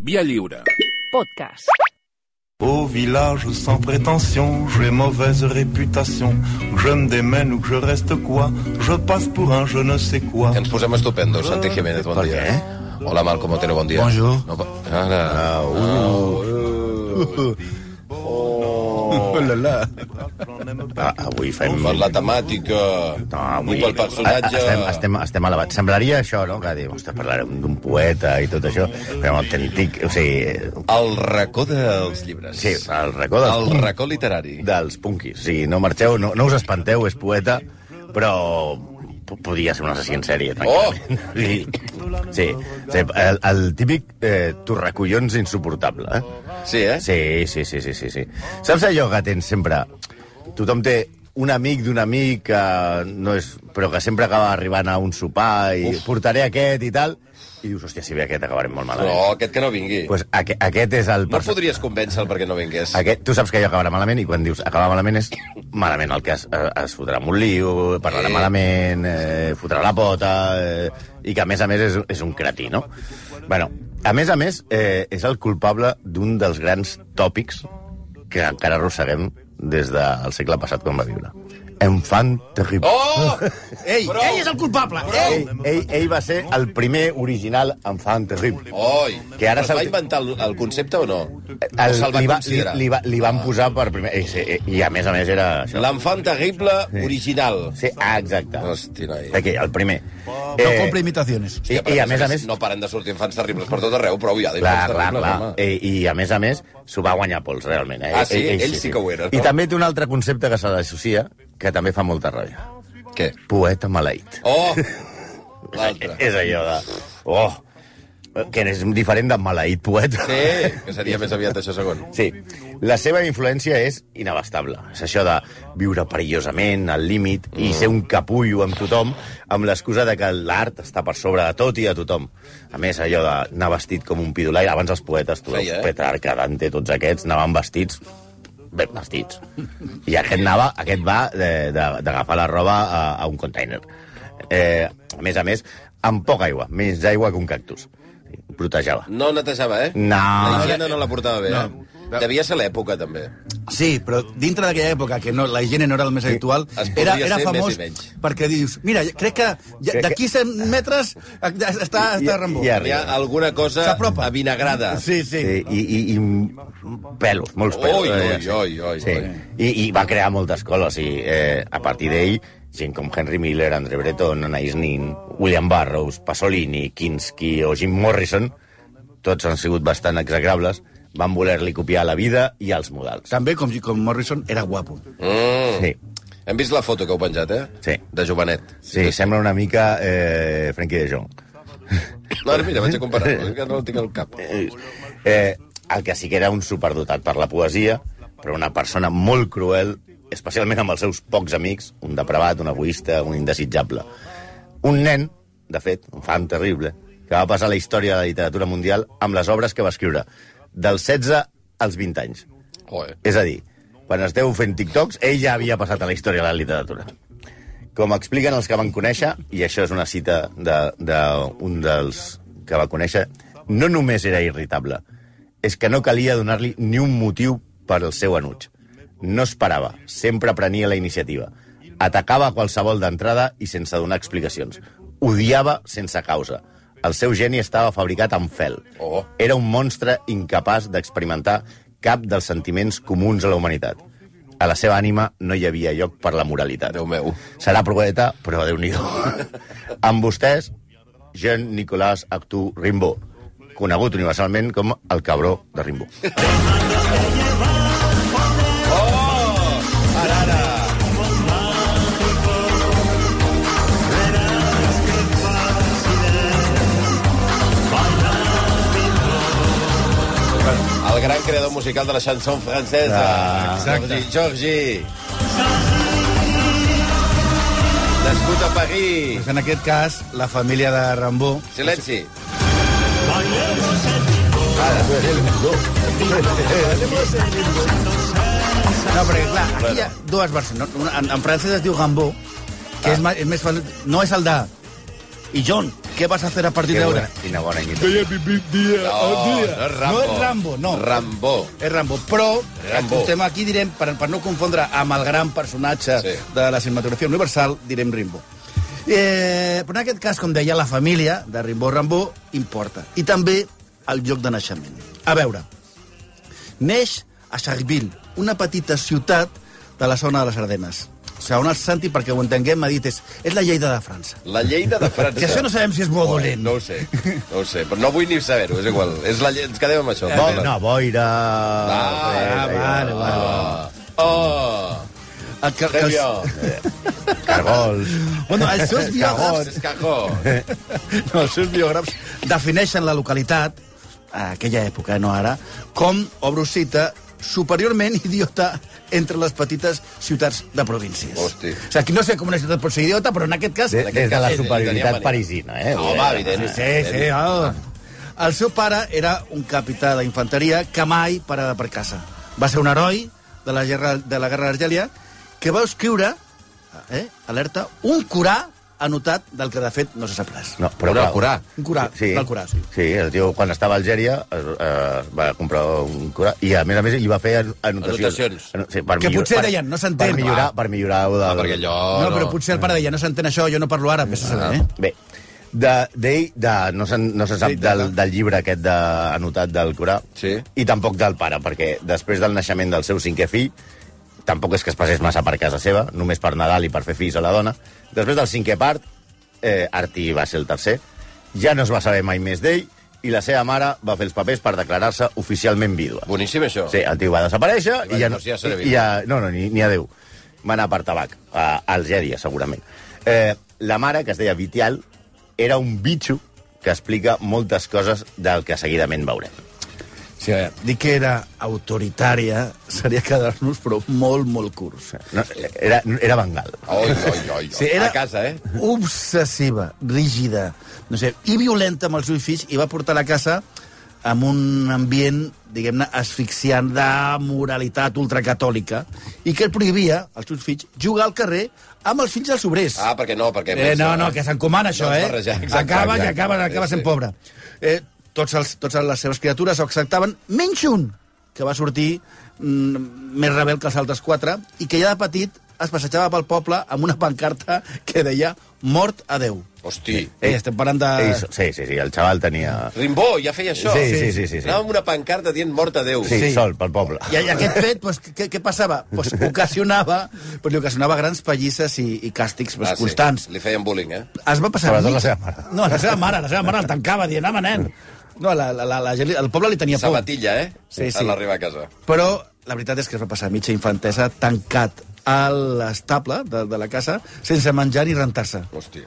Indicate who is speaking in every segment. Speaker 1: Via lliure.
Speaker 2: Podcast.
Speaker 3: Au village sans prétention, j'ai mauvaise réputation. Que je me démène ou que je reste quoi, je passe pour un je ne sais quoi.
Speaker 4: Ens posem estupendos, Santi Jiménez, bon dia. Hola, Malcom Otero, bon dia.
Speaker 5: Bonjour.
Speaker 4: No, po- ara...
Speaker 5: Oh la la. Ah, avui fem...
Speaker 4: Per la temàtica,
Speaker 5: No,
Speaker 4: i
Speaker 5: avui...
Speaker 4: pel personatge...
Speaker 5: A, estem, estem, estem elevat. Semblaria això, no? Que dir, ostres, parlarem d'un poeta i tot això, però autèntic... O sigui, eh,
Speaker 4: El racó dels llibres.
Speaker 5: sí, el racó dels,
Speaker 4: El
Speaker 5: punk-
Speaker 4: racó literari.
Speaker 5: dels punkis. Sí, no marxeu, no, no us espanteu, és poeta, però po- podria ser un assassí en sèrie, tranquil·lament. Oh! Sí, sí, sí el, el típic eh, torracollons insuportable, eh?
Speaker 4: Sí, eh?
Speaker 5: Sí, sí, sí, sí, sí, sí. Saps allò que tens sempre... Tothom té un amic d'un amic que no és... però que sempre acaba arribant a un sopar i Uf. portaré aquest i tal, i dius, hòstia, si ve aquest acabarem molt malament.
Speaker 4: No, aquest que no vingui.
Speaker 5: Doncs pues aqu aquest és el...
Speaker 4: No
Speaker 5: perso-
Speaker 4: podries convèncer perquè no vingués.
Speaker 5: Aquest, tu saps que allò acabarà malament i quan dius acabar malament és malament el que es, eh, es fotrà amb un lío, parlarà
Speaker 4: Eh.
Speaker 5: eh. malament, eh, fotrà la pota, eh, i que a més a més és, és un cretí, no? Bueno, a més a més eh, és el culpable d'un dels grans tòpics que encara arrosseguem des del segle passat quan va viure. Enfant terrible.
Speaker 4: Oh! Ei, ei, és el...
Speaker 5: Ell, ell, ell va ser el primer original enfant terrible.
Speaker 4: Oi,
Speaker 5: Que ara
Speaker 4: es va
Speaker 5: s'ha-
Speaker 4: inventar el, el concepte o no? o
Speaker 5: El,
Speaker 4: se'l va
Speaker 5: li, va, li,
Speaker 4: considerar?
Speaker 5: li, va, li van posar per primer... I, sí, i a més a més era això.
Speaker 4: L'enfant terrible original.
Speaker 5: Sí, ah, exacte.
Speaker 4: Hosti, noi.
Speaker 5: Aquí, el primer.
Speaker 6: No compra imitaciones.
Speaker 5: i,
Speaker 4: Hòstia, però
Speaker 5: I a més a més...
Speaker 4: No paren de sortir infants terribles per tot arreu, però ja
Speaker 5: Clar,
Speaker 4: d'infants
Speaker 5: clar,
Speaker 4: terribles,
Speaker 5: clar.
Speaker 4: home.
Speaker 5: I, I a més a més, s'ho va guanyar pols, realment. Eh?
Speaker 4: Ah, sí? Ell sí que ho era, no?
Speaker 5: I també té un altre concepte que se l'associa, que també fa molta ràbia.
Speaker 4: Què?
Speaker 5: Poeta maleït.
Speaker 4: Oh! L'altre.
Speaker 5: És allò de... Oh! Que és diferent de maleït poeta.
Speaker 4: Sí, que seria més aviat això segon.
Speaker 5: Sí, la seva influència és inabastable. És això de viure perillosament, al límit, mm. i ser un capullo amb tothom, amb l'excusa de que l'art està per sobre de tot i de tothom. A més, allò d'anar vestit com un pidolai, abans els poetes, tu
Speaker 4: Feia,
Speaker 5: veus,
Speaker 4: eh?
Speaker 5: Petrarca, Dante, tots aquests, anaven vestits ben vestits. I aquest, anava, aquest va de- de- d'agafar la roba a, a un container. Eh, a més a més, amb poca aigua, menys aigua que un cactus. Protejava.
Speaker 4: No netejava, eh?
Speaker 5: No.
Speaker 4: La higiene no la portava bé, eh?
Speaker 6: No.
Speaker 4: Devia ser l'època, també.
Speaker 6: Sí, però dintre d'aquella època, que no, la higiene no era el més habitual,
Speaker 4: Es podia
Speaker 6: era, era
Speaker 4: ser més i
Speaker 6: famós
Speaker 4: menys.
Speaker 6: perquè dius, mira, crec que ja,
Speaker 5: Crec
Speaker 6: d'aquí 100 metres eh, ja està, està Rambó.
Speaker 5: I
Speaker 4: Hi ha
Speaker 5: arriba.
Speaker 4: alguna cosa
Speaker 6: S'apropa.
Speaker 4: avinagrada.
Speaker 6: Sí, sí.
Speaker 5: Sí, i, i, i pelos, molts
Speaker 4: Oi,
Speaker 5: pelos.
Speaker 4: oi,
Speaker 5: eh,
Speaker 4: oi, oi, oi.
Speaker 5: Sí. I, I va crear moltes escoles, i eh, a partir d'ell, gent com Henry Miller, Andre Breton, Anais Nin, William Burroughs, Pasolini, Kinski o Jim Morrison, tots han sigut bastant execrables, van voler-li copiar la vida i els models.
Speaker 6: També, com, com Morrison, era guapo.
Speaker 4: Mm.
Speaker 5: Sí,
Speaker 4: Hem vist la foto que heu penjat, eh?
Speaker 5: Sí.
Speaker 4: De jovenet.
Speaker 5: sí sembla una mica eh, Frankie de Jong.
Speaker 4: No, ara mira, vaig a comparar. és que no el tinc al cap.
Speaker 5: Eh, el que sí que era un superdotat per la poesia, però una persona molt cruel, especialment amb els seus pocs amics, un depravat, un egoista, un indesitjable. Un nen, de fet, un fan terrible, que va passar a la història de la literatura mundial amb les obres que va escriure, dels 16 als 20 anys.
Speaker 4: Joder.
Speaker 5: Eh? És a dir, quan esteu fent TikToks, ell ja havia passat a la història de la literatura. Com expliquen els que van conèixer, i això és una cita d'un de, de dels que va conèixer, no només era irritable, és que no calia donar-li ni un motiu per al seu enuig. No esperava, sempre prenia la iniciativa. Atacava qualsevol d'entrada i sense donar explicacions. Odiava sense causa. El seu geni estava fabricat amb fel.
Speaker 4: Oh.
Speaker 5: Era un monstre incapaç d'experimentar cap dels sentiments comuns a la humanitat. A la seva ànima no hi havia lloc per la moralitat.
Speaker 4: Déu meu.
Speaker 5: Serà progueta, però déu nhi Amb vostès, Jean-Nicolas Actu Rimbaud, conegut universalment com el cabró de Rimbaud.
Speaker 4: Ara, ara. El gran creador musical de la chanson francesa.
Speaker 5: Ah,
Speaker 4: Exacte. Georgi. Nascut a París.
Speaker 6: En aquest cas, la família de Rambó...
Speaker 4: Silenci.
Speaker 6: No, perquè, clar, aquí hi ha dues versions.
Speaker 4: Ah.
Speaker 6: No? Una, en, en francès es diu Gambó, que és, ma- és més fàcil... No és el de... I John, ¿Qué vas a hacer a partir de ahora?
Speaker 5: Quina bona
Speaker 6: Voy
Speaker 5: imitació.
Speaker 6: a vivir día
Speaker 4: No,
Speaker 6: a día.
Speaker 4: Oh, no és Rambo.
Speaker 6: Oh, No és Rambo, no.
Speaker 4: Rambo.
Speaker 6: És Rambo, però
Speaker 4: Rambo.
Speaker 6: escoltem aquí direm, per, per no confondre amb el gran personatge
Speaker 4: Sí.
Speaker 6: sí. de la cinematografia universal, direm Rimbo. Eh, però en aquest cas, com deia, la família de Rimbo Rambó importa. I també el lloc de naixement. A veure, neix a Charville, una petita ciutat de la zona de les Ardenes. Segons el Santi, perquè ho entenguem, m'ha dit, és, és la Lleida de França.
Speaker 4: La Lleida de França.
Speaker 6: Que això no sabem si és bo o
Speaker 4: Oh,
Speaker 6: dolent.
Speaker 4: No ho sé, no ho sé. Però no vull ni saber-ho, és igual. És la Lleida... Ens quedem amb
Speaker 6: Eh,
Speaker 4: això.
Speaker 5: Bo, no, boira...
Speaker 4: Ah,
Speaker 5: Eh,
Speaker 6: vale, vale.
Speaker 4: Oh, oh.
Speaker 6: El, que, que
Speaker 4: Trevio.
Speaker 6: els,
Speaker 5: Cargols.
Speaker 6: bueno, els seus biògrafs
Speaker 4: Es cagó.
Speaker 6: No, els seus biògrafs defineixen la localitat, a aquella època, no ara, com, obro cita, superiorment idiota entre les petites ciutats de províncies.
Speaker 4: Hosti.
Speaker 6: O sigui, aquí no sé com una ciutat pot ser idiota, però en aquest cas...
Speaker 5: De,
Speaker 4: En aquest
Speaker 5: des de la
Speaker 4: cas,
Speaker 5: superioritat
Speaker 4: tenia
Speaker 5: parisina, eh?
Speaker 4: No, va, evident.
Speaker 6: Sí, sí, oh. El seu pare era un capità d'infanteria que mai parava per casa. Va ser un heroi de la guerra de la guerra d'Argèlia que va escriure, eh, alerta, un curà anotat del que de fet no se sap res.
Speaker 5: No, però
Speaker 4: Curà,
Speaker 5: clar,
Speaker 4: curà.
Speaker 6: Un curà, del curà, sí.
Speaker 5: Sí, el tio, quan estava a Algèria, es, eh, va comprar un curà, i a més a més hi va fer an- anotacions.
Speaker 4: Anotacions.
Speaker 5: Ano- Sí, per
Speaker 6: Que
Speaker 5: millor-
Speaker 6: potser
Speaker 5: per-
Speaker 6: deien, no s'entén.
Speaker 5: Per millorar, per millorar... Del...
Speaker 4: Ah, perquè allò...
Speaker 6: Oh, No, però potser el pare deia, no s'entén això, jo no parlo ara, vés a saber, eh?
Speaker 5: Bé, de, d'ell, de, no, se, no se sap
Speaker 6: Sí, de-
Speaker 5: del, del llibre aquest de, anotat del Corà,
Speaker 4: Sí.
Speaker 5: i tampoc del pare, perquè després del naixement del seu cinquè fill, tampoc és que es passés massa per casa seva, només per Nadal i per fer fills a la dona. Després del cinquè part, eh, Arti va ser el tercer, ja no es va saber mai més d'ell, i la seva mare va fer els papers per declarar-se oficialment vídua.
Speaker 4: Boníssim, això.
Speaker 5: Sí, el tio va desaparèixer
Speaker 4: I va
Speaker 5: i
Speaker 4: dir,
Speaker 5: ja,
Speaker 4: "Doncs ja seré
Speaker 5: i ja, no, no, ni, ni adeu. Va anar per tabac, a Algèria, segurament. Eh, la mare, que es deia Vitial, era un bitxo que explica moltes coses del que seguidament veurem.
Speaker 6: Sí, eh. a veure, dir que era autoritària seria quedar-nos, però molt, molt curts. eh?
Speaker 5: No, era, era Bengal.
Speaker 4: Oi, oi, oi.
Speaker 6: Sí, era-
Speaker 4: A casa, eh?
Speaker 6: Obsessiva, rígida, no sé, i violenta amb els seus fills, i va portar la casa amb un ambient, diguem-ne, asfixiant de moralitat ultracatòlica, i que el prohibia als seus fills jugar al carrer amb els fills dels obrers.
Speaker 4: Ah, perquè no, perquè...
Speaker 6: Eh, no, no, que s'encomana això,
Speaker 4: No es
Speaker 6: eh?
Speaker 4: barrejar, exacte,
Speaker 6: acaba i
Speaker 4: exacte.
Speaker 6: acaba, acaba
Speaker 4: Sí,
Speaker 6: sent
Speaker 4: sí.
Speaker 6: pobre. Eh, tots els, totes les seves criatures ho acceptaven, menys un, que va sortir mm, més rebel que els altres quatre, i que ja de petit es passejava pel poble amb una pancarta que deia mort a Déu.
Speaker 4: Hosti.
Speaker 6: Ei, estem parlant
Speaker 4: Ah.
Speaker 6: de...
Speaker 5: Ell, sí, sí, sí, el xaval tenia...
Speaker 4: Rimbó, ja feia això.
Speaker 5: Sí, sí, sí, sí, sí.
Speaker 4: Anava amb una pancarta dient mort a Déu.
Speaker 5: Sí,
Speaker 6: Sí.
Speaker 5: sí. sol, pel poble.
Speaker 6: I, i aquest fet, doncs, què, què passava? Pues, ocasionava, pues, li ocasionava grans pallisses i, i càstigs pues, Ah, constants.
Speaker 4: Ah, Li feien bullying, eh?
Speaker 6: es va passar...
Speaker 5: Sobretot
Speaker 6: mig-
Speaker 5: la seva mare.
Speaker 6: No, la seva mare, la seva mare el tancava dient, home, nen. No, la, la, la, la, gent li- el poble li tenia por.
Speaker 4: Sabatilla, eh?
Speaker 6: Sí, sí.
Speaker 4: A l'arribar a casa.
Speaker 6: Però la veritat és que es va passar mitja infantesa tancat a l'estable de, de la casa sense menjar ni rentar-se.
Speaker 4: Hosti.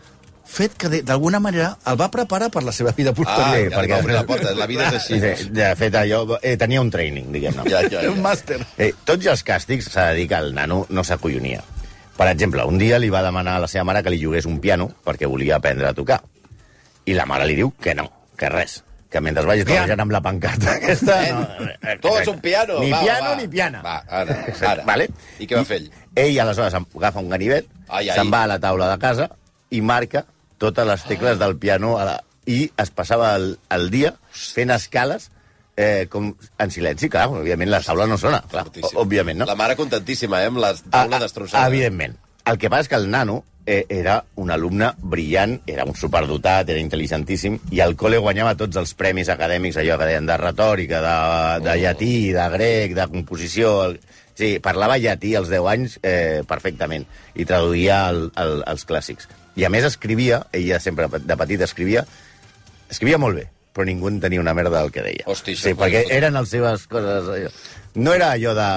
Speaker 6: Fet que de- d'alguna manera el va preparar per la seva vida
Speaker 4: Ah,
Speaker 5: sí,
Speaker 6: posterior.
Speaker 4: ja li
Speaker 5: perquè-
Speaker 4: va obrir la porta. La vida és
Speaker 5: Sí,
Speaker 4: així.
Speaker 5: sí, de fet, allò... Eh, tenia un training, diguem-ne.
Speaker 4: Ja, ja,
Speaker 6: un
Speaker 4: ja.
Speaker 6: màster.
Speaker 5: Eh, tots els càstigs s'ha de dir que el nano no s'acollonia. Per exemple, un dia li va demanar a la seva mare que li llogués un piano perquè volia aprendre a tocar. I la mare li diu que no, que res que mentre vagi treballant amb la pancarta aquesta... No, eh,
Speaker 4: Tot és
Speaker 5: exacte.
Speaker 4: un piano.
Speaker 5: Ni
Speaker 4: va,
Speaker 5: piano
Speaker 4: va.
Speaker 5: ni piana.
Speaker 4: Va, ara, ara.
Speaker 5: Vale?
Speaker 4: I què va fer ell?
Speaker 5: Ell, aleshores, em- agafa un ganivet,
Speaker 4: Ai, ai.
Speaker 5: se'n va a la taula de casa i marca totes les tecles del piano a la... i es passava el, el dia fent escales eh, com en silenci, clar, òbviament la taula no sona, clar,
Speaker 4: Fortíssim.
Speaker 5: òbviament, no?
Speaker 4: La mare contentíssima, eh? Amb la
Speaker 5: Ah,
Speaker 4: taula
Speaker 5: ah,
Speaker 4: destrossada.
Speaker 5: Evidentment. El que passa és que el nano eh, era un alumne brillant, era un superdotat, era intel·ligentíssim, i al col·le guanyava tots els premis acadèmics, allò que deien de retòrica, de, de llatí, de grec, de composició... El... Sí, parlava llatí als 10 anys eh, perfectament i traduïa el, el, els clàssics. I a més escrivia, ella sempre de petit escrivia, escrivia molt bé, però ningú en tenia una merda del que deia.
Speaker 4: Hosti, això
Speaker 5: sí,
Speaker 4: és
Speaker 5: perquè
Speaker 4: molt
Speaker 5: eren les seves coses... allò. No era allò de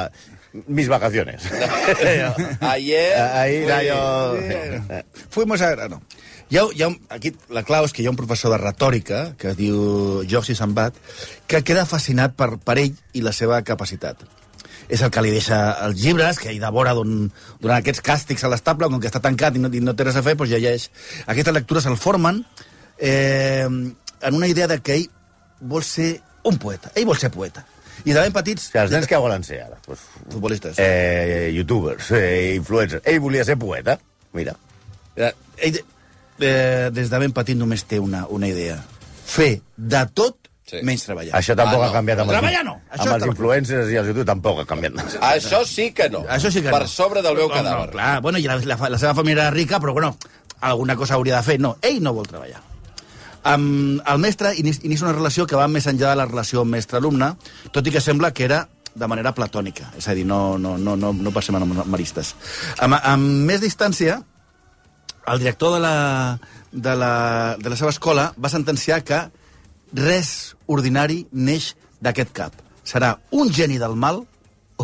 Speaker 5: mis vacaciones.
Speaker 4: Ayer...
Speaker 5: Ahí era
Speaker 4: fui-
Speaker 5: allò... Eh,
Speaker 6: Fuimos a... ah, No. Hi ha, hi ha, un- aquí la clau és que hi ha un professor de retòrica, que es diu Jordi Sambat, que queda fascinat per, per ell i la seva capacitat. És el que li deixa els llibres, que hi devora d'un- durant aquests càstigs a l'estable, com que està tancat i no, i no té res a fer, doncs llegeix. Aquestes lectures el formen eh, en una idea de que ell vol ser un poeta. Ell vol ser poeta. I de ben
Speaker 5: O
Speaker 6: petits...
Speaker 5: sigui, els nens que Eh, volen ser ara? Pues,
Speaker 6: Futbolistes.
Speaker 5: eh, youtubers, eh, influencers... Ell volia ser poeta, mira.
Speaker 6: Eh, ell, eh, des de ben petit només té una, una idea. Fer de tot
Speaker 4: Sí.
Speaker 6: sí. menys treballar.
Speaker 5: Això tampoc
Speaker 4: Ah, no.
Speaker 5: ha canviat amb els,
Speaker 6: Treballar no. Això
Speaker 5: amb els
Speaker 6: tampoc.
Speaker 5: influencers i els YouTube tampoc ha canviat.
Speaker 4: Això sí que no.
Speaker 6: Això sí que
Speaker 4: per
Speaker 6: no.
Speaker 4: sobre del
Speaker 5: Oh,
Speaker 4: meu
Speaker 6: no,
Speaker 4: cadàver.
Speaker 6: No, clar, bueno, i la, la, fa- la seva família era rica, però bueno, alguna cosa hauria de fer. No, ell no vol treballar. Um, el mestre inici- inicia una relació que va més enllà de la relació mestre-alumne, tot i que sembla que era de manera platònica, és a dir, no, no, no, no, no passem a maristes. Amb, amb més distància, el director de la, de, la, de la seva escola va sentenciar que res ordinari neix d'aquest cap. Serà un geni del mal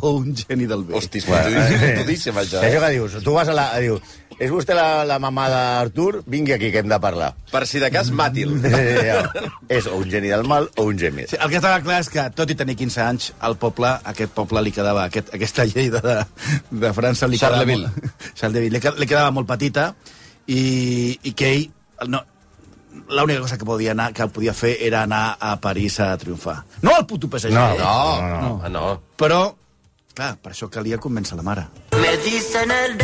Speaker 6: o un geni del bé.
Speaker 4: Hosti, és fotudíssim,
Speaker 5: això.
Speaker 4: això. Eh?
Speaker 5: Això que dius, tu vas a la... Diu, és vostè la, la mamà d'Artur? Vingui aquí, que hem de parlar.
Speaker 4: Per si de cas, màtil.
Speaker 5: Eh, és o un geni del mal o un geni.
Speaker 6: Sí, el que estava clar és que, tot i tenir 15 anys, al poble, a aquest poble li quedava, aquest, aquesta llei de, de, de França li quedava...
Speaker 4: Charleville.
Speaker 6: molt- Charleville. Li, qued- li quedava molt petita i, i que ell... No, l'única cosa que podia anar que podia fer era anar a París a triomfar. No al puto PSG.
Speaker 5: No,
Speaker 4: No, no, no.
Speaker 6: eh? Però, clar, per això calia convèncer la mare.
Speaker 1: Me dicen el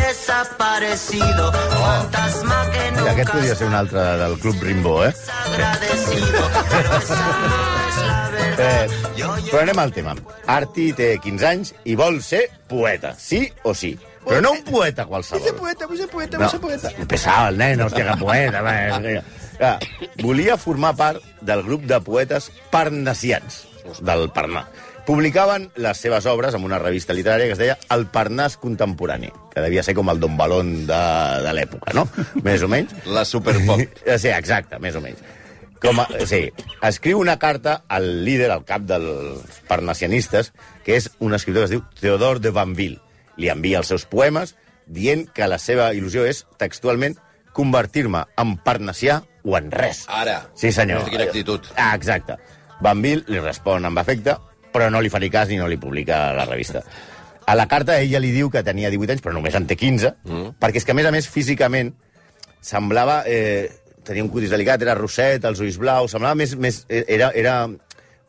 Speaker 1: desaparecido, fantasma que
Speaker 5: I
Speaker 1: nunca
Speaker 5: aquest podria ser un altre del Club Rimbó, eh?
Speaker 1: es agradecido, pero esa no es la
Speaker 5: eh?
Speaker 1: verdad. Yo
Speaker 5: Però anem al tema. Arti té 15 anys i vol ser poeta, sí o sí. Però no un poeta qualsevol. Vull ser poeta, vull ser poeta, no. vull ser poeta. Pesava el nen, hòstia, que poeta. va, eh, eh. Volia formar part del grup de poetes parnassians del Parnà. Publicaven les seves obres en una revista literària que es deia El Parnàs Contemporani, que devia ser com el Don Balón de, de l'època, no? Més o menys.
Speaker 4: La superpop.
Speaker 5: Eh, Sí, exacte, més o menys. Com a, eh, sí, escriu una carta al líder, al cap dels parnassianistes, que és un escriptor que es diu Theodore de Vanville. Li envia els seus poemes dient que la seva il·lusió és, textualment, convertir-me en parnassià o en res.
Speaker 4: Ara.
Speaker 5: Sí, senyor.
Speaker 4: Quina actitud.
Speaker 5: Ah, exacte. Vanville li respon amb afecte, però no li faré cas ni no li publica a la revista. A la carta ella li diu que tenia 18 anys, però només en té 15, mm. perquè és que, a més a més, físicament, semblava... Eh, tenia un cutis delicat, era rosset, els ulls blaus, semblava més... més era, era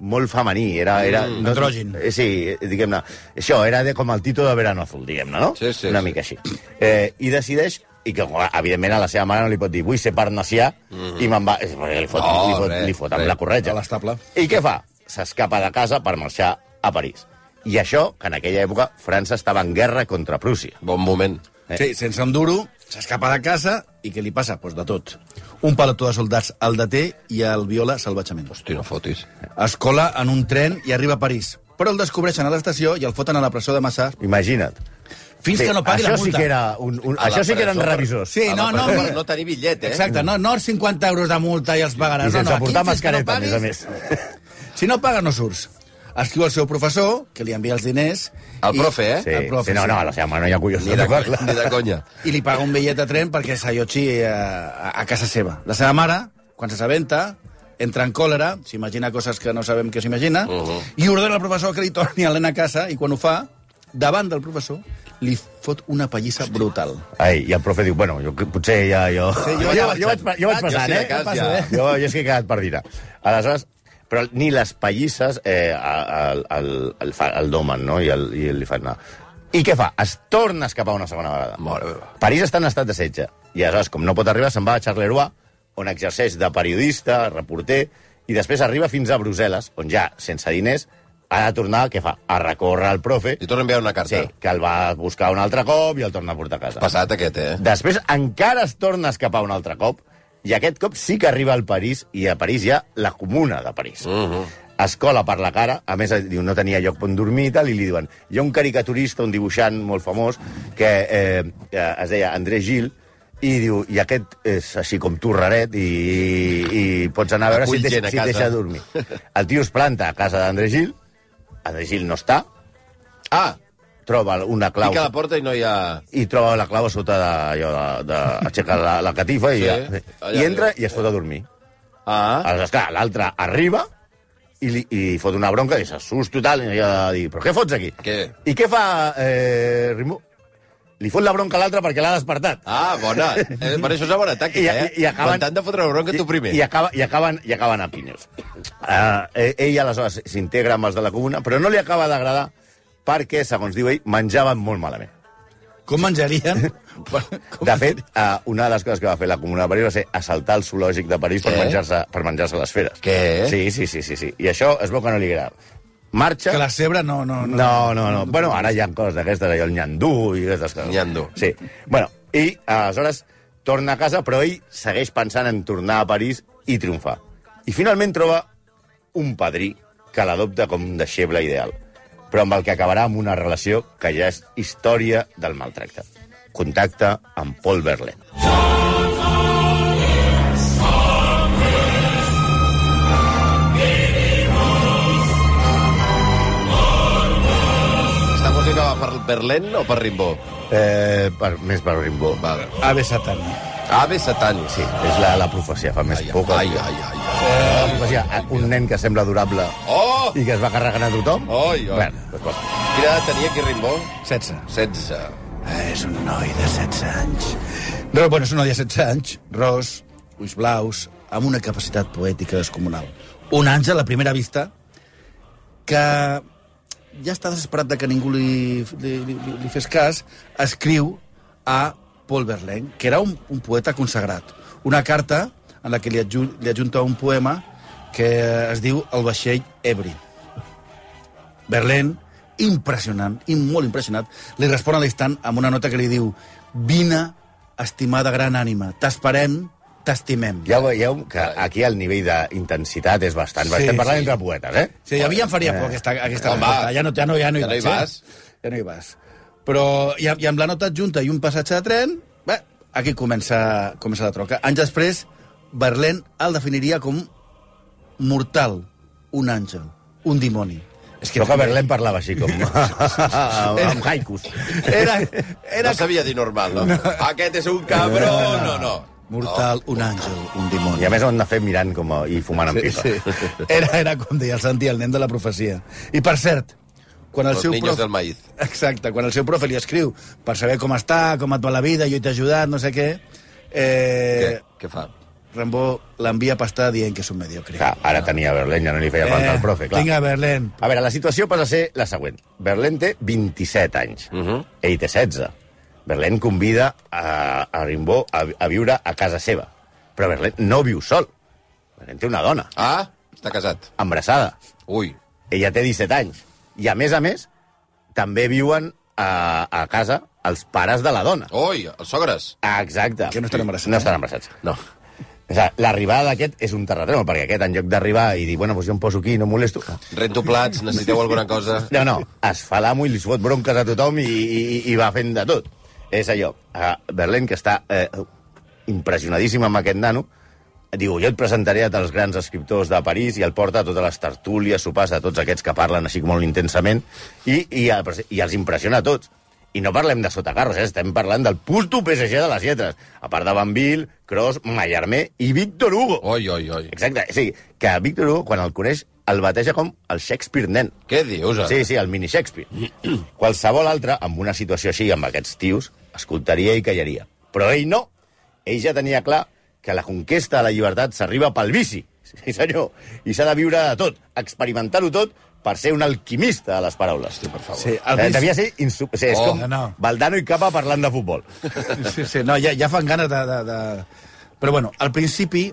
Speaker 5: molt femení, era... era
Speaker 6: Mm, androgen.
Speaker 5: Eh, Sí, eh, diguem-ne. Això, era de, com el Tito de Verano Azul, diguem-ne, no?
Speaker 4: Sí, sí,
Speaker 5: Una
Speaker 4: sí.
Speaker 5: mica així. Eh, I decideix i que, clar, evidentment, a la seva mare no li pot dir vull ser parnassià,
Speaker 4: Mm-hmm.
Speaker 5: i me'n va... és perquè Li fot,
Speaker 4: No,
Speaker 5: li fot,
Speaker 4: res,
Speaker 5: li fot amb
Speaker 4: res.
Speaker 5: la corretja.
Speaker 6: A l'estable.
Speaker 5: I què fa? S'escapa de casa per marxar a París. I això, que en aquella època França estava en guerra contra Prússia.
Speaker 4: Bon moment.
Speaker 5: Eh.
Speaker 6: Eh. Sí, sense enduro, s'escapa de casa i què li passa? Pues de tot. Un pelotó de soldats el deté i el viola salvatjament.
Speaker 4: Hosti, no fotis.
Speaker 6: Es cola en un tren i arriba a París. Però el descobreixen a l'estació i el foten a la presó de Massas
Speaker 5: Imagina't.
Speaker 6: fins sí, que no pagui
Speaker 5: això
Speaker 6: la multa.
Speaker 5: Sí que era un, un,
Speaker 4: A la
Speaker 5: això sí que eren
Speaker 4: presó per-
Speaker 5: revisors.
Speaker 6: Sí,
Speaker 4: A la
Speaker 6: no, no,
Speaker 4: presó
Speaker 6: mira.
Speaker 4: per No tenir bitllet, eh?
Speaker 6: Exacte, no, no els 50 euros de multa i els pagaràs.
Speaker 5: I
Speaker 6: no,
Speaker 5: sense
Speaker 6: no, aquí
Speaker 5: portar
Speaker 6: fins que
Speaker 5: mascareta,
Speaker 6: no paguis,
Speaker 5: a més a més.
Speaker 6: Si no pagues, no surts. Escriu al seu professor, que li envia els diners...
Speaker 4: El profe, eh?
Speaker 5: Sí,
Speaker 6: el profe,
Speaker 5: sí, no, no, a la seva mare no hi ha collons
Speaker 4: Ni
Speaker 5: de
Speaker 4: de,
Speaker 5: tocar-la.
Speaker 4: ni de conya.
Speaker 6: i li paga un bitllet de tren perquè s'allotgi eh, a, a casa seva. La seva mare, quan s'assabenta, entra en còlera, s'imagina coses que no sabem que s'imagina, uh
Speaker 4: Mhm.
Speaker 6: -huh. i ordena al professor que li torni a l'Helena a casa, i quan ho fa, davant del professor, li fot una pallissa brutal.
Speaker 5: Ai, i el profe diu, bueno, jo, potser ja... Jo, sí,
Speaker 6: jo ja vaig-
Speaker 5: jo, vaig, jo vaig
Speaker 4: jo
Speaker 5: passant,
Speaker 4: si de
Speaker 5: eh?
Speaker 4: cas
Speaker 5: jo,
Speaker 4: ja.
Speaker 5: jo, jo és que he quedat per dinar. Aleshores, però ni les pallisses eh, el, el, el, fa- el domen, no? I, el, I li fan anar. I què fa? Es torna a escapar una segona vegada.
Speaker 4: Mare meva.
Speaker 5: París està en estat de setge. I aleshores, com no pot arribar, se'n va a Charleroi, on exerceix de periodista, reporter, i després arriba fins a Brussel·les, on ja, sense diners, ha de tornar, què fa? A recórrer al profe,
Speaker 4: Li torno a enviar una carta.
Speaker 5: sí, que el va buscar un altre cop i el torna a portar a casa.
Speaker 4: Passat aquest, eh?
Speaker 5: Després encara es torna a escapar un altre cop, i aquest cop sí que arriba al París, i a París hi ha la comuna de París.
Speaker 4: Uh -huh.
Speaker 5: Es cola per la cara, a més eh, diu, no tenia lloc on dormir i tal, i li diuen, hi ha un caricaturista, un dibuixant molt famós, que eh, eh, es deia André Gil, i diu, i aquest és així com tu, raret, i, i, i pots anar a veure si,
Speaker 4: Acull
Speaker 5: et
Speaker 4: gent a
Speaker 5: deixa, si et
Speaker 4: casa."
Speaker 5: deixa dormir. El tio es planta a casa d'André Gil, André Gil no està,
Speaker 4: Ah,
Speaker 5: troba una clau
Speaker 4: pica la porta i no hi ha...
Speaker 5: i troba la clau a sota de, allò de, de aixeca la, la catifa i,
Speaker 4: Sí,
Speaker 5: ja,
Speaker 4: allà
Speaker 5: i entra
Speaker 4: diu.
Speaker 5: i es fot a dormir.
Speaker 4: Ah,
Speaker 5: Aleshores, clar, l'altre arriba i li, i li fot una bronca i s'assusta i tal, i ha de dir, però què fots aquí?
Speaker 4: Què?
Speaker 5: I què fa eh, Rimú? Li fot la bronca a l'altre perquè l'ha despertat.
Speaker 4: ah bona. Eh, per això és una bona tàctica, eh? Quan t'han de fotre la bronca, tu primer.
Speaker 5: I, i, acaba, i, acaben, I acaben a pinyos. Uh, ell aleshores s'integra amb els de la comuna, però no li acaba d'agradar perquè, segons diu ell, menjaven molt malament.
Speaker 6: Com menjarien? Com...
Speaker 5: De fet, eh, una de les coses que va fer la Comuna de París va ser assaltar el zoològic de París per
Speaker 4: Què?
Speaker 5: menjar-se per menjar les feres.
Speaker 4: Què?
Speaker 5: Sí, sí, sí, sí, sí. I això es veu que no li agrada. Marxa...
Speaker 6: Que la cebra no... no, no.
Speaker 5: No, no, no. Bueno, ara hi ha coses d'aquestes, allò, el nyandú i aquestes coses.
Speaker 4: Nyandú.
Speaker 5: Sí. Bueno, i aleshores torna a casa, però ell segueix pensant en tornar a París i triomfar. I finalment troba un padrí que l'adopta com un deixeble ideal, però amb el que acabarà amb una relació que ja és història del maltracte. Contacta amb Paul Verlaine.
Speaker 4: Esta música va per Berlín o per Rimbó?
Speaker 5: Eh, per, més per Rimbaud. Va.
Speaker 4: Val.
Speaker 6: Ave satan.
Speaker 4: Ave Satani, sí.
Speaker 5: És la, la profecia, fa més
Speaker 4: Ai,
Speaker 5: por. que-
Speaker 4: ai, ai, ai.
Speaker 5: La profecia, un nen que sembla adorable
Speaker 4: Oh!
Speaker 5: i que es va carregant a tothom.
Speaker 4: Ai, ai.
Speaker 5: Bueno, doncs posa.
Speaker 4: Quina edat tenia aquí Rimbó?
Speaker 6: 16.
Speaker 4: 16.
Speaker 6: Eh, És un noi de 16 anys. No, bueno, és un noi de 16 anys, ros, ulls blaus, amb una capacitat poètica descomunal. Un àngel a primera vista que ja està desesperat de que ningú li, li, li, li fes cas, escriu a Paul Verlaine, que era un, un poeta consagrat. Una carta en la que li, adju li adjunta un poema que es diu El vaixell ebri. Berlín, impressionant, i molt impressionat, li respon a l'instant amb una nota que li diu «Vine, estimada gran ànima, t'esperem, t'estimem».
Speaker 5: Ja ho veieu que aquí el nivell d'intensitat és bastant. Sí,
Speaker 6: Sí,
Speaker 5: Estem parlant
Speaker 6: sí.
Speaker 5: sí. entre poetes, eh?
Speaker 6: Sí, a mi ja em faria por aquesta, aquesta
Speaker 4: Home,
Speaker 6: resposta. Ja no, ja no, ja no hi,
Speaker 4: ja no hi
Speaker 6: eh?
Speaker 4: vas.
Speaker 6: Ja no hi vas. Però, i, amb- i amb la nota adjunta i un passatge de tren, bé, aquí comença, comença la troca. Anys després, Berlín el definiria com mortal, un àngel, un dimoni.
Speaker 5: És que Però que Berlín parlava així, com... amb haikus.
Speaker 6: Era,
Speaker 4: Era...
Speaker 6: era
Speaker 4: No sabia dir normal, no? no. Aquest és un cabró, no, no.
Speaker 6: mortal, un àngel, un dimoni.
Speaker 5: I a més ho hem de fer mirant com a, i fumant amb
Speaker 6: Sí,
Speaker 5: pipa.
Speaker 6: sí. Era, era com deia el Santi, el nen de la profecia. I per cert, quan el
Speaker 4: Los
Speaker 6: seu
Speaker 4: niños
Speaker 6: profe...
Speaker 4: del maíz.
Speaker 6: Exacte, quan el seu profe li escriu per saber com està, com et va la vida, jo t'he ajudat, no sé què, eh,
Speaker 4: Què, què fa?
Speaker 6: Rambó l'envia a pastar dient que és un mediocre.
Speaker 5: Clar, Ah, ara tenia Berlín, ja no li
Speaker 6: Eh,
Speaker 5: feia falta el profe, clar.
Speaker 6: Vinga, Berlín.
Speaker 5: A veure, la situació passa a ser la següent. Berlín té 27 anys. Uh
Speaker 4: Mhm.
Speaker 5: -huh. Ell té 16. Berlín convida a, a Rimbaud a, a viure a casa seva. Però Berlín no viu sol. Berlín té una dona,
Speaker 4: Ah, està casat.
Speaker 5: embarassada.
Speaker 4: Ui.
Speaker 5: Ella té 17 anys. I, a més a més, també viuen a, a casa els pares de la dona.
Speaker 4: Ui, els sogres.
Speaker 5: Exacte.
Speaker 6: Que no estan embarassats,
Speaker 5: No
Speaker 6: eh?
Speaker 5: estan embarassats. No. O sigui, l'arribada d'aquest és un terratrèmol, perquè aquest, en lloc d'arribar i dir, bueno, doncs jo em poso aquí i no em molesto...
Speaker 4: Rento plats, necessiteu alguna cosa?
Speaker 5: No, no, es fa l'amo i li fot bronques a tothom i, i, i va fent de tot. És allò, a Berlín, que està eh, impressionadíssim amb aquest nano, diu, jo et presentaré a dels grans escriptors de París i el porta a totes les tertúlies, sopars, a tots aquests que parlen així molt intensament, i, i, a- i els impressiona a tots. I no parlem de sotacarros, eh? estem parlant del puto PSG de les lletres, a part de Banville, Cross, Mallarmé i Víctor Hugo.
Speaker 4: Oi, oi, oi.
Speaker 5: Exacte, o sigui, que Víctor Hugo, quan el coneix, el bateja com el Shakespeare nen.
Speaker 4: Què dius?
Speaker 5: Sí, sí, el mini Shakespeare. Qualsevol altre, amb una situació així, amb aquests tios, escoltaria i callaria. Però ell no. Ell ja tenia clar que la conquesta de la llibertat s'arriba pel vici. Sí, senyor. I s'ha de viure de tot, experimentar-ho tot, per ser un alquimista de les paraules.
Speaker 4: Hosti, per favor.
Speaker 6: Sí, el
Speaker 5: Eh,
Speaker 6: vici-
Speaker 5: devia ser insu... O sigui, és
Speaker 4: Oh,
Speaker 5: com
Speaker 6: no.
Speaker 5: Valdano i Capa parlant de futbol.
Speaker 6: Sí, sí, no, ja, ja fan ganes de, de, de... Però bueno, al principi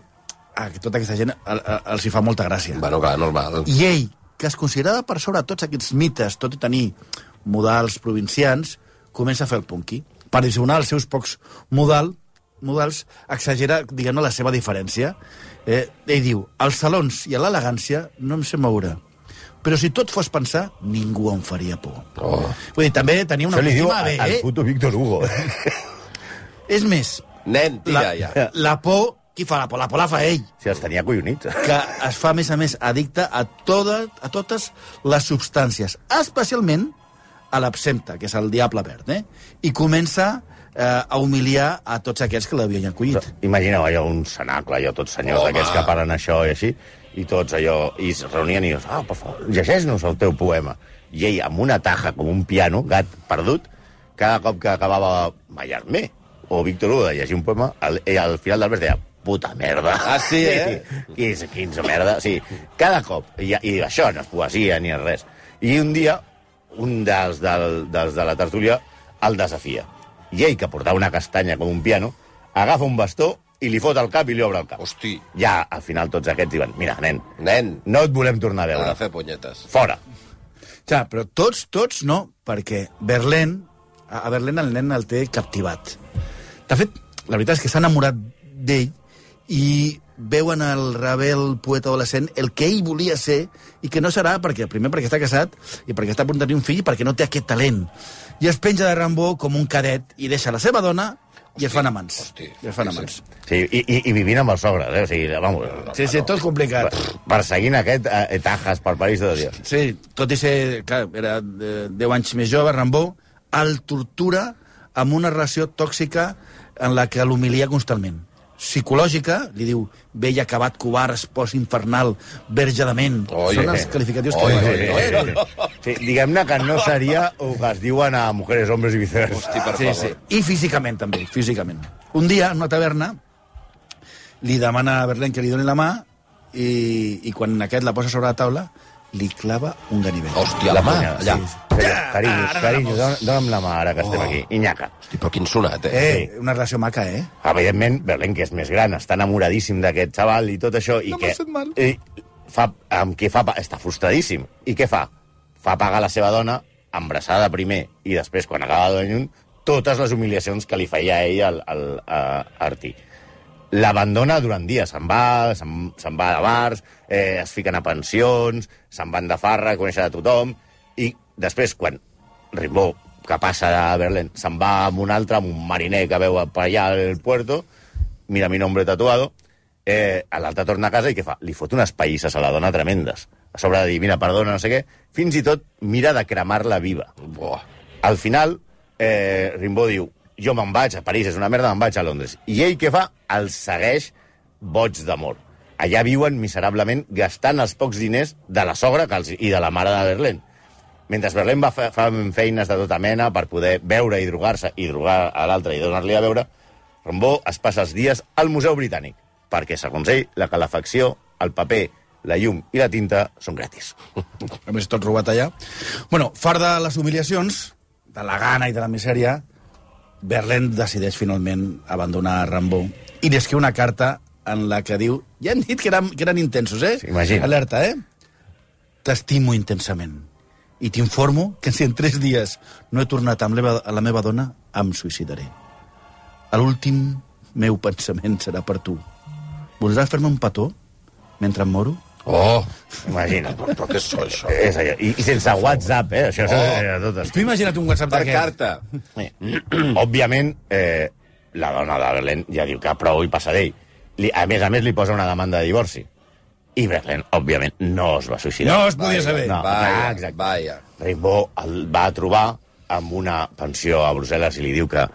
Speaker 6: a tota aquesta gent el, el, els hi fa molta gràcia.
Speaker 4: Bueno, clar, normal.
Speaker 6: I ell, que es considerava per sobre tots aquests mites, tot i tenir modals provincians, comença a fer el punky. Per dissimular els seus pocs modal, modals, exagera, diguem-ne, la seva diferència. Eh, ell diu, als salons i a l'elegància no em sé moure. Però si tot fos pensar, ningú em faria por.
Speaker 4: Oh.
Speaker 6: Vull dir, també tenia una
Speaker 5: Això li diu
Speaker 6: autoestima
Speaker 5: al
Speaker 6: bé,
Speaker 5: al
Speaker 6: eh?
Speaker 5: puto Víctor Hugo. eh?
Speaker 6: És més,
Speaker 4: Nen, tira,
Speaker 6: la,
Speaker 4: ja.
Speaker 6: la por, qui fa la por? La por la fa ell
Speaker 5: Si els tenia collonits.
Speaker 6: que es fa, a més a més, addicte a, toda, a totes les substàncies, especialment a l'absempte, que és el diable verd, eh? i comença eh, a humiliar a tots aquests que l'havien acollit.
Speaker 5: Imagineu allò, un cenacle, allò, tots senyors
Speaker 4: Home.
Speaker 5: d'aquests que parlen això i així, i tots allò, i es reunien i dius, ah, per favor, llegeix-nos el teu poema. I ell, amb una taja com un piano, gat perdut, cada cop que acabava Mallarmé o Víctor Hugo de llegir un poema, al, ell al final del vers deia, puta merda.
Speaker 4: Ah, sí, eh?
Speaker 5: Quins, quins merda, sí. Cada cop. I, I això no és poesia ni és res. I un dia, un dels, del, dels de la tertúlia el desafia. i ell, que portava una castanya com un piano, agafa un bastó i li fot al cap i li obre el cap.
Speaker 4: Hosti,
Speaker 5: Ja, al final, tots aquests diuen, mira, nen,
Speaker 4: nen,
Speaker 5: no et volem tornar a
Speaker 4: ha
Speaker 5: veure.
Speaker 4: de fer punyetes.
Speaker 5: Fora.
Speaker 6: Clar, però tots, tots no, perquè Berlín, a a Berlín el nen el té captivat. De fet, la veritat és que s'ha enamorat d'ell i veuen el rebel poeta adolescent el que ell volia ser i que no serà perquè primer perquè està casat i perquè està a punt de tenir un fill i perquè no té aquest talent. I es penja de Rambó com un cadet i deixa la seva dona i es fan amants.
Speaker 4: hosti,
Speaker 6: I es fan
Speaker 4: sí,
Speaker 6: amants.
Speaker 5: Sí, i, i, i vivint amb els sogres, eh? O sigui, vamos,
Speaker 6: Sí, sí, tot complicat.
Speaker 5: perseguint aquest eh, Tajas per París de Dios.
Speaker 6: Sí, tot i ser, clar, era eh, 10 anys més jove, Rambó, el tortura amb una relació tòxica en la que l'humilia constantment. Psicològica, li diu, vell acabat, covard, espòs infernal, verge de ment.
Speaker 4: Oi,
Speaker 6: Són
Speaker 4: eh.
Speaker 6: els qualificatius
Speaker 4: Oi,
Speaker 6: que...
Speaker 4: oi, oi, oi.
Speaker 5: Sí, Diguem-ne que no seria el que es diuen a mujeres, hombres i viceversa.
Speaker 4: Hosti, per
Speaker 6: Sí, sí.
Speaker 4: favor.
Speaker 6: I físicament, també, físicament. Un dia, en una taverna, li demana a Berlín que li doni la mà i, i quan aquest la posa sobre la taula, li clava un ganivet.
Speaker 4: Hòstia, la mà, allà.
Speaker 5: Sí, sí. Carinyo, carinyo, dona- dona'm la mà ara que estem
Speaker 4: Oh.
Speaker 5: aquí. Iñaca.
Speaker 4: Hosti, però quin sonat, eh?
Speaker 6: Eh, una relació maca, eh?
Speaker 5: Evidentment, Berlín, que és més gran, està enamoradíssim d'aquest xaval i tot això. I
Speaker 6: No m'ha
Speaker 5: que,
Speaker 6: fet mal.
Speaker 5: I fa, amb qui fa, pa- està frustradíssim. I què fa? Fa pagar la seva dona, embarassada primer, i després, quan acaba de venir un, totes les humiliacions que li feia a ell al, al, a Arti. L'abandona durant dies, se'n va, se'n se'n va de bars, eh, es fiquen a pensions, se'n van de farra, conèixer de tothom, i després, quan Rimbaud, que passa de Berlín, se'n va amb un altre, amb un mariner que veu per allà al puerto, mira mi nombre tatuado, eh, l'altre torna a casa i què fa? Li fot unes pallisses a la dona tremendes. A sobre de dir, mira, perdona, no sé què. Fins i tot mira de cremar-la viva.
Speaker 4: Buah.
Speaker 5: Al final, eh, Rimbaud diu, jo me'n vaig a París, és una merda, me'n vaig a Londres. I ell què fa? El segueix boig d'amor. Allà viuen miserablement gastant els pocs diners de la sogra que els, i de la mare de Berlín. Mentre Berlín va fa, fent feines de tota mena per poder beure i drogar-se i drogar a l'altre i donar-li a beure, Rombó es passa els dies al Museu Britànic, perquè, segons ell, la calefacció, el paper, la llum i la tinta són gratis.
Speaker 6: A més, tot robat allà. Bueno, fart de les humiliacions, de la gana i de la misèria, Berlín decideix finalment abandonar Rambó i li escriu una carta en la que diu... Ja hem dit que eren, que eren intensos, eh?
Speaker 5: Sí, imagino.
Speaker 6: Alerta, eh? T'estimo intensament i t'informo que si en tres dies no he tornat amb la meva, a la meva dona, em suïcidaré. L'últim meu pensament serà per tu. Voldràs fer-me un petó mentre em moro?
Speaker 4: Oh,
Speaker 5: Imagina't.
Speaker 4: però què és això?
Speaker 5: És allò. I, I sense WhatsApp, eh? Això, això
Speaker 4: Oh.
Speaker 5: era tot es-
Speaker 6: Tu imagina't un WhatsApp
Speaker 4: Per
Speaker 6: d'aquest.
Speaker 4: carta.
Speaker 5: Òbviament, eh, la dona de Berlín ja diu que prou i passa d'ell. Li- A més a més, li posa una demanda de divorci. I Berlín, òbviament, no es va suïcidar.
Speaker 6: No es podia saber.
Speaker 5: No, ah,
Speaker 4: Vaja,
Speaker 5: exacte.
Speaker 4: vaja.
Speaker 5: Rimbaud el va trobar amb una pensió a Brussel·les i li diu que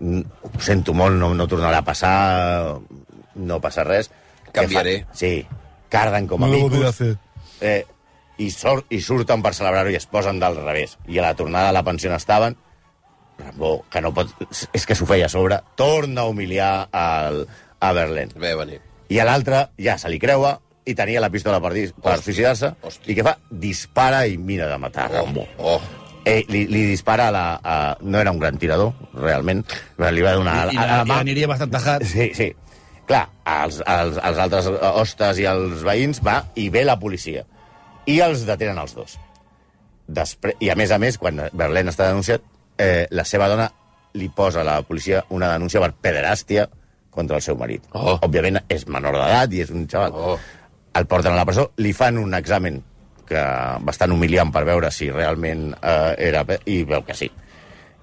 Speaker 5: "Mm, ho sento molt, no, no tornarà a passar, no passa res.
Speaker 4: Canviaré.
Speaker 5: Que fa- Sí, carden com a amigos. Eh, i, sort, I surten per celebrar-ho i es posen del revés. I a la tornada a la pensió on estaven, Rimbaud, que no pot... És que s'ho feia a sobre, torna a humiliar al, a Berlín
Speaker 4: Ve a venir.
Speaker 5: i a l'altre ja se li creua i tenia la pistola per, dis- per
Speaker 4: Hosti,
Speaker 5: suïcidar-se
Speaker 4: hosti.
Speaker 5: i què fa? Dispara i mira de matar
Speaker 4: Oh,
Speaker 5: Rambo.
Speaker 4: oh.
Speaker 5: Eh, li, li dispara a la... A, no era un gran tirador, realment, però li va donar a,
Speaker 6: I, i,
Speaker 5: a, a la mà.
Speaker 6: aniria bastant tajat.
Speaker 5: Sí, sí. Clar, als, als, als altres hostes i als veïns va i ve la policia. I els detenen els dos. Despre... I a més a més, quan Berlín està denunciat, eh, la seva dona li posa a la policia una denúncia per pederàstia contra el seu marit.
Speaker 4: Oh.
Speaker 5: Òbviament és menor d'edat i és un xaval.
Speaker 4: Oh.
Speaker 5: El porten a la presó, li fan un examen que bastant humiliant per veure si realment eh, era... pe- I veu que sí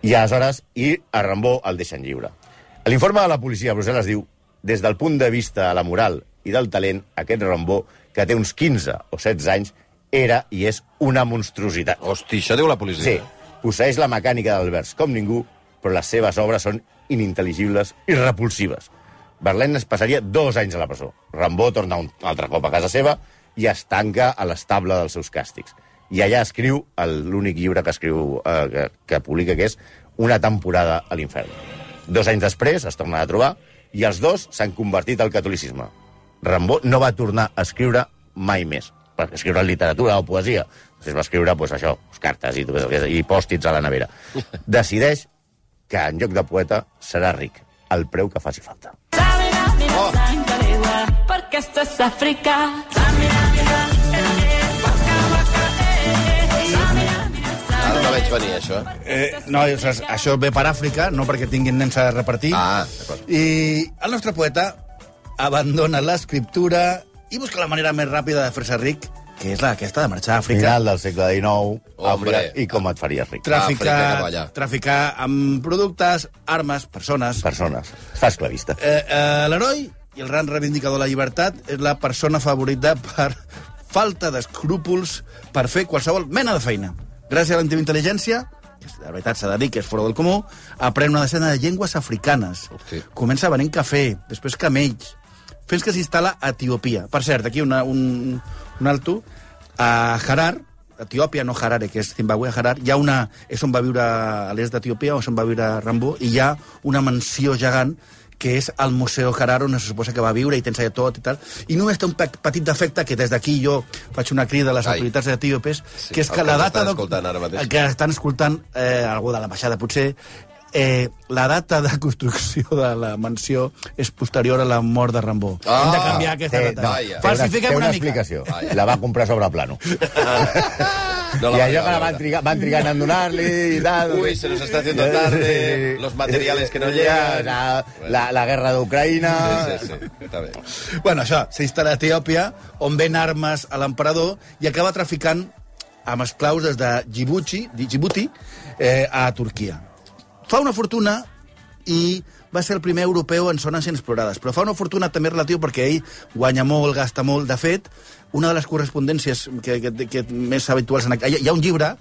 Speaker 5: i aleshores i a Rambó el deixen lliure. L'informe de la policia a Brussel·les diu des del punt de vista de la moral i del talent, aquest Rambó, que té uns 15 o 16 anys, era i és una monstruositat.
Speaker 4: Hosti, això diu la
Speaker 5: Sí,
Speaker 4: policia.
Speaker 5: posseeix la mecànica del vers com ningú, però les seves obres són inintel·ligibles i repulsives. Verlaine es passaria dos anys a la presó. Rambó torna un altre cop a casa seva i es tanca a l'estable dels seus càstigs. I allà escriu el- l'únic llibre que escriu eh, que, que publica, que és Una temporada a l'infern. Dos anys després es tornen a trobar i els dos s'han convertit al catolicisme. Rambó no va tornar a escriure mai més, perquè escriure literatura o poesia. Després va escriure, doncs, això, cartes i, tot això, i pòstits a la nevera. Decideix que en lloc de poeta serà ric, al preu que faci falta.
Speaker 2: Oh. Perquè esto es Àfrica.
Speaker 4: Ara no la veig venir, això.
Speaker 6: Eh, no, o sigui, això ve per Àfrica, no perquè tinguin nens a repartir.
Speaker 4: Ah, d'acord.
Speaker 6: I el nostre poeta abandona l'escriptura i busca la manera més ràpida de fer-se ric, que és la, aquesta de marxar a Àfrica.
Speaker 5: Final del segle XIX,
Speaker 4: Hombre.
Speaker 5: Hombre. i com et faries ric.
Speaker 4: Àfrica, cap
Speaker 6: Traficar,
Speaker 4: allà.
Speaker 6: traficar amb productes, armes, persones...
Speaker 5: Persones. Fa esclavista.
Speaker 6: Eh, eh, L'heroi i el gran reivindicador de la llibertat és la persona favorita per falta d'escrúpols per fer qualsevol mena de feina. Gràcies a la teva intel·ligència, que de veritat s'ha de dir que és fora del comú, aprèn una decena de llengües africanes.
Speaker 4: Hosti.
Speaker 6: Comença venent cafè, després camells, fins que s'instal·la a Etiòpia. Per cert, aquí una, un, un alto, a Harar, Etiòpia, no Harare, que és Zimbabue, a Harar, hi ha una... És on va viure a l'est d'Etiòpia, on se'n va viure Rambó, i hi ha una mansió gegant que és el Museu Harar, on se suposa que va viure i tens allà tot i tal. I només té un pe- petit defecte, que des d'aquí jo faig una crida a les
Speaker 4: Ai.
Speaker 6: autoritats etíopes,
Speaker 4: Sí,
Speaker 6: que és
Speaker 4: el
Speaker 6: que
Speaker 4: que
Speaker 6: la
Speaker 4: ens
Speaker 6: data...
Speaker 4: estan
Speaker 6: de-
Speaker 4: escoltant ara mateix.
Speaker 6: el que estan escoltant eh, algú de l'ambaixada, potser, eh, la data de construcció de la mansió és posterior a la mort de Rambó.
Speaker 4: Ah,
Speaker 6: Hem de canviar aquesta
Speaker 5: Té- Eh, no,
Speaker 6: data.
Speaker 4: Vaja.
Speaker 5: té
Speaker 6: Falsifiquem
Speaker 5: una
Speaker 6: una, mica.
Speaker 5: explicació.
Speaker 4: Vaja.
Speaker 5: La va comprar sobre plano.
Speaker 4: No
Speaker 5: I
Speaker 4: va arribar
Speaker 5: allò que
Speaker 4: a
Speaker 5: la van
Speaker 4: veure.
Speaker 5: trigar, van trigant a donar-li i tal.
Speaker 4: Uy, se nos está haciendo tarde, los materiales que no llegan.
Speaker 5: La, la, la guerra d'Ucraïna...
Speaker 4: Sí, sí, sí. Està bé.
Speaker 6: Bueno, això, s'instal·la a Etiòpia, on ven armes a l'emperador i acaba traficant amb esclaus des de Djibouti, Djibouti eh, a Turquia. Fa una fortuna i va ser el primer europeu en zones inexplorades, però fa una fortuna també relatiu perquè ell guanya molt, gasta molt. De fet, una de les correspondències que, que, que més habituals... En... aqu- Hi ha- hi ha un llibre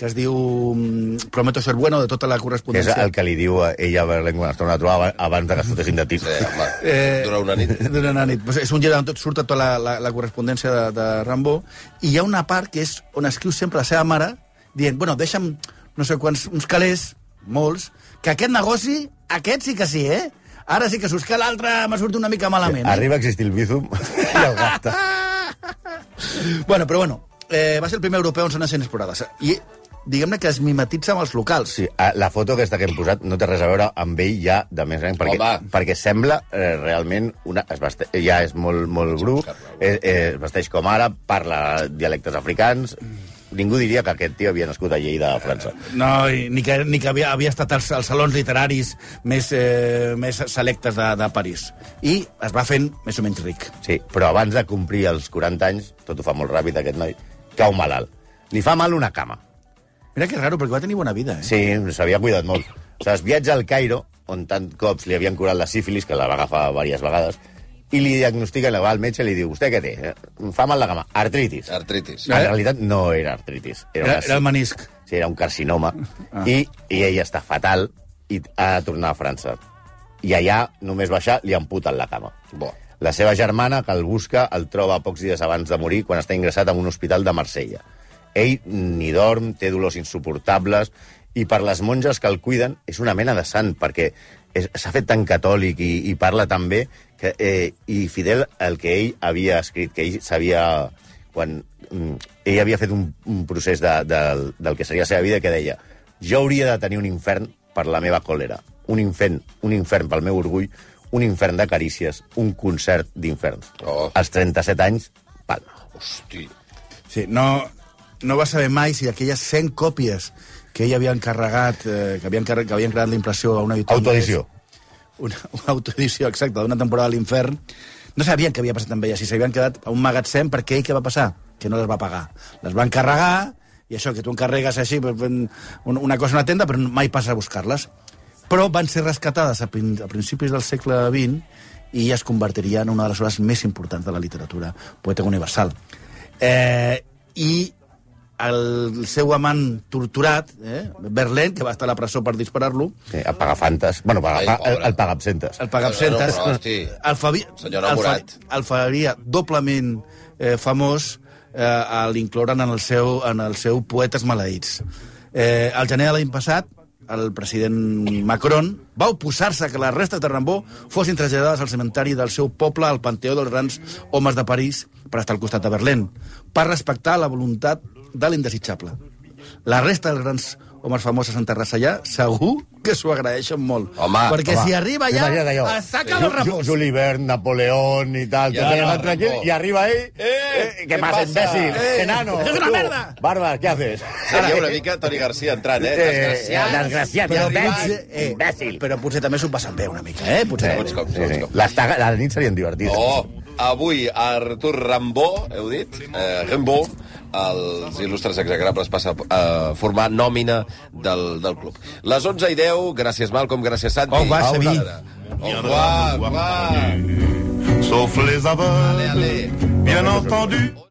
Speaker 6: que es diu mm, Prometo ser bueno, de tota la
Speaker 5: Que és
Speaker 6: correspondència.
Speaker 5: el que li diu a ella a Berlín quan es torna a trobar aba- abans de que es fotessin de tir.
Speaker 4: Sí, home,
Speaker 6: Eh,
Speaker 4: dura una nit.
Speaker 6: Dura una nit. Pues és un llibre on tot surt tota la, la, la correspondència de, de Rambó, i hi ha una part que és on escriu sempre la seva mare, dient, bueno, deixa'm no sé quants, uns calés, molts, que aquest negoci, aquest sí que sí, eh? Ara sí que s'us que l'altre m'ha sortit una mica malament. Eh?
Speaker 5: Arriba a existir el bízum i el gasta.
Speaker 6: Bueno, però bueno, eh, va ser el primer europeu en zones inexplorades. I diguem-ne que es mimetitza amb els locals.
Speaker 5: Sí, a- la foto aquesta que hem posat no té res a veure amb ell ja de més gran, perquè,
Speaker 4: Home.
Speaker 5: perquè sembla eh, realment una... Es veste, ja és molt, molt bru, eh, eh, es vesteix com àrab, parla dialectes africans... Ningú diria que aquest tio havia nascut a Lleida, a França.
Speaker 6: No, i ni que, ni que havia, havia estat als, als salons literaris més, eh, més selectes de, de París. I es va fent més o menys ric.
Speaker 5: Sí, però abans de complir els 40 anys, tot ho fa molt ràpid aquest noi, cau malalt. Li fa mal una cama.
Speaker 6: Mira que raro, perquè va tenir bona vida, eh?
Speaker 5: Sí, s'havia cuidat molt. Saps, viatja al Cairo, on tant cops li havien curat la sífilis, que la va agafar diverses vegades, i li diagnostica, la va al metge i li diu, vostè què té? Eh, Em fa mal la cama. Artritis.
Speaker 4: Artritis.
Speaker 5: En realitat no era artritis. Era,
Speaker 6: Eh? Era,
Speaker 5: una,
Speaker 6: era el menisc.
Speaker 5: sí, era un carcinoma. Ah. I, I ella està fatal i ha de tornar a França. I allà, només baixar, li amputen la cama.
Speaker 4: Bo.
Speaker 5: La seva germana, que el busca, el troba pocs dies abans de morir quan està ingressat en un hospital de Marsella. Ell ni dorm, té dolors insuportables, i per les monges que el cuiden és una mena de sant, perquè és- s'ha fet tan catòlic i, i parla tan bé que, eh, i fidel al que ell havia escrit, que ell sabia... Quan, mm, ell havia fet un, un procés de, de, del que seria la seva vida que deia jo hauria de tenir un infern per la meva còlera, un infern, un infern pel meu orgull, un infern de carícies, un concert d'inferns.
Speaker 4: Oh.
Speaker 5: Als 37 anys, palma.
Speaker 4: Hosti.
Speaker 6: Sí, no, no va saber mai si aquelles 100 còpies que ell havia encarregat, eh, que havien, que havien creat la impressió a una editorial...
Speaker 5: Autoedició.
Speaker 6: Una, una autoedició, exacta, d'una temporada a l'infern. No sabien què havia passat amb ella, si s'havien quedat a un magatzem, perquè ell què va passar? Que no les va pagar. Les va encarregar, i això, que tu encarregues així per- per un- una cosa a una tenda, però mai passa a buscar-les. Però van ser rescatades a, prin- a principis del segle XX i es convertiria en una de les obres més importants de la literatura poeta universal. Eh, I el seu amant torturat, eh, Berlín, que va estar a la presó per disparar-lo,
Speaker 5: Sí, el pagafantes. Bueno, paga,
Speaker 4: Ai,
Speaker 5: pa, el,
Speaker 4: pobre.
Speaker 5: el pagaabsentes.
Speaker 6: el Pagabsentes,
Speaker 4: No, no, però, hosti,
Speaker 6: el, favi,
Speaker 4: senyor
Speaker 6: el, fa,
Speaker 4: Morat.
Speaker 6: el faria doblement eh, famós eh, a l'incloure'n en, el seu, en el seu Poetes Maleïts. Eh, el gener de l'any passat, el president Macron va oposar-se que les restes de Rambó fossin traslladades al cementari del seu poble, al Panteó dels Grans Homes de París, per estar al costat de Berlín, per respectar la voluntat de l'indesitjable. La resta dels grans homes famosos en Terrassa allà, segur que s'ho agraeixen molt.
Speaker 4: Home,
Speaker 6: Perquè si arriba allà, ja, eh, saca los
Speaker 5: Eh, Ju- Ju-
Speaker 6: rapos.
Speaker 5: Julibert, Napoleón i tal.
Speaker 4: Ja,
Speaker 5: Ja, no,
Speaker 4: no,
Speaker 5: tranquil,
Speaker 4: no.
Speaker 5: I arriba ell... Eh, eh, què passa, imbècil? Eh, enano.
Speaker 6: eres una
Speaker 5: tu,
Speaker 6: merda.
Speaker 5: Bàrbar, què haces?
Speaker 4: Seria una
Speaker 6: eh,
Speaker 4: mica Toni Garcia entrant, eh? Desgraciat.
Speaker 5: desgraciat,
Speaker 6: Però
Speaker 5: imbècil.
Speaker 6: potser- eh,
Speaker 5: imbècil.
Speaker 6: Però potser també s'ho passen bé una mica, eh? Potser.
Speaker 4: Segons com,
Speaker 5: Sí,
Speaker 4: segons
Speaker 5: sí.
Speaker 4: com.
Speaker 5: Les, taga- les nits serien divertides.
Speaker 4: Oh, avui Artur Rambó, heu dit, eh, Rambó, els il·lustres exagrables passa a formar nòmina del, del club. Les 11 i 10, gràcies Malcom, gràcies Santi.
Speaker 6: Au, va,
Speaker 4: Au,
Speaker 6: Sevi.
Speaker 4: Sandra. Au revoir, au revoir.
Speaker 3: Sauf les aveugles,
Speaker 4: Allez, allez.
Speaker 3: bien entendu.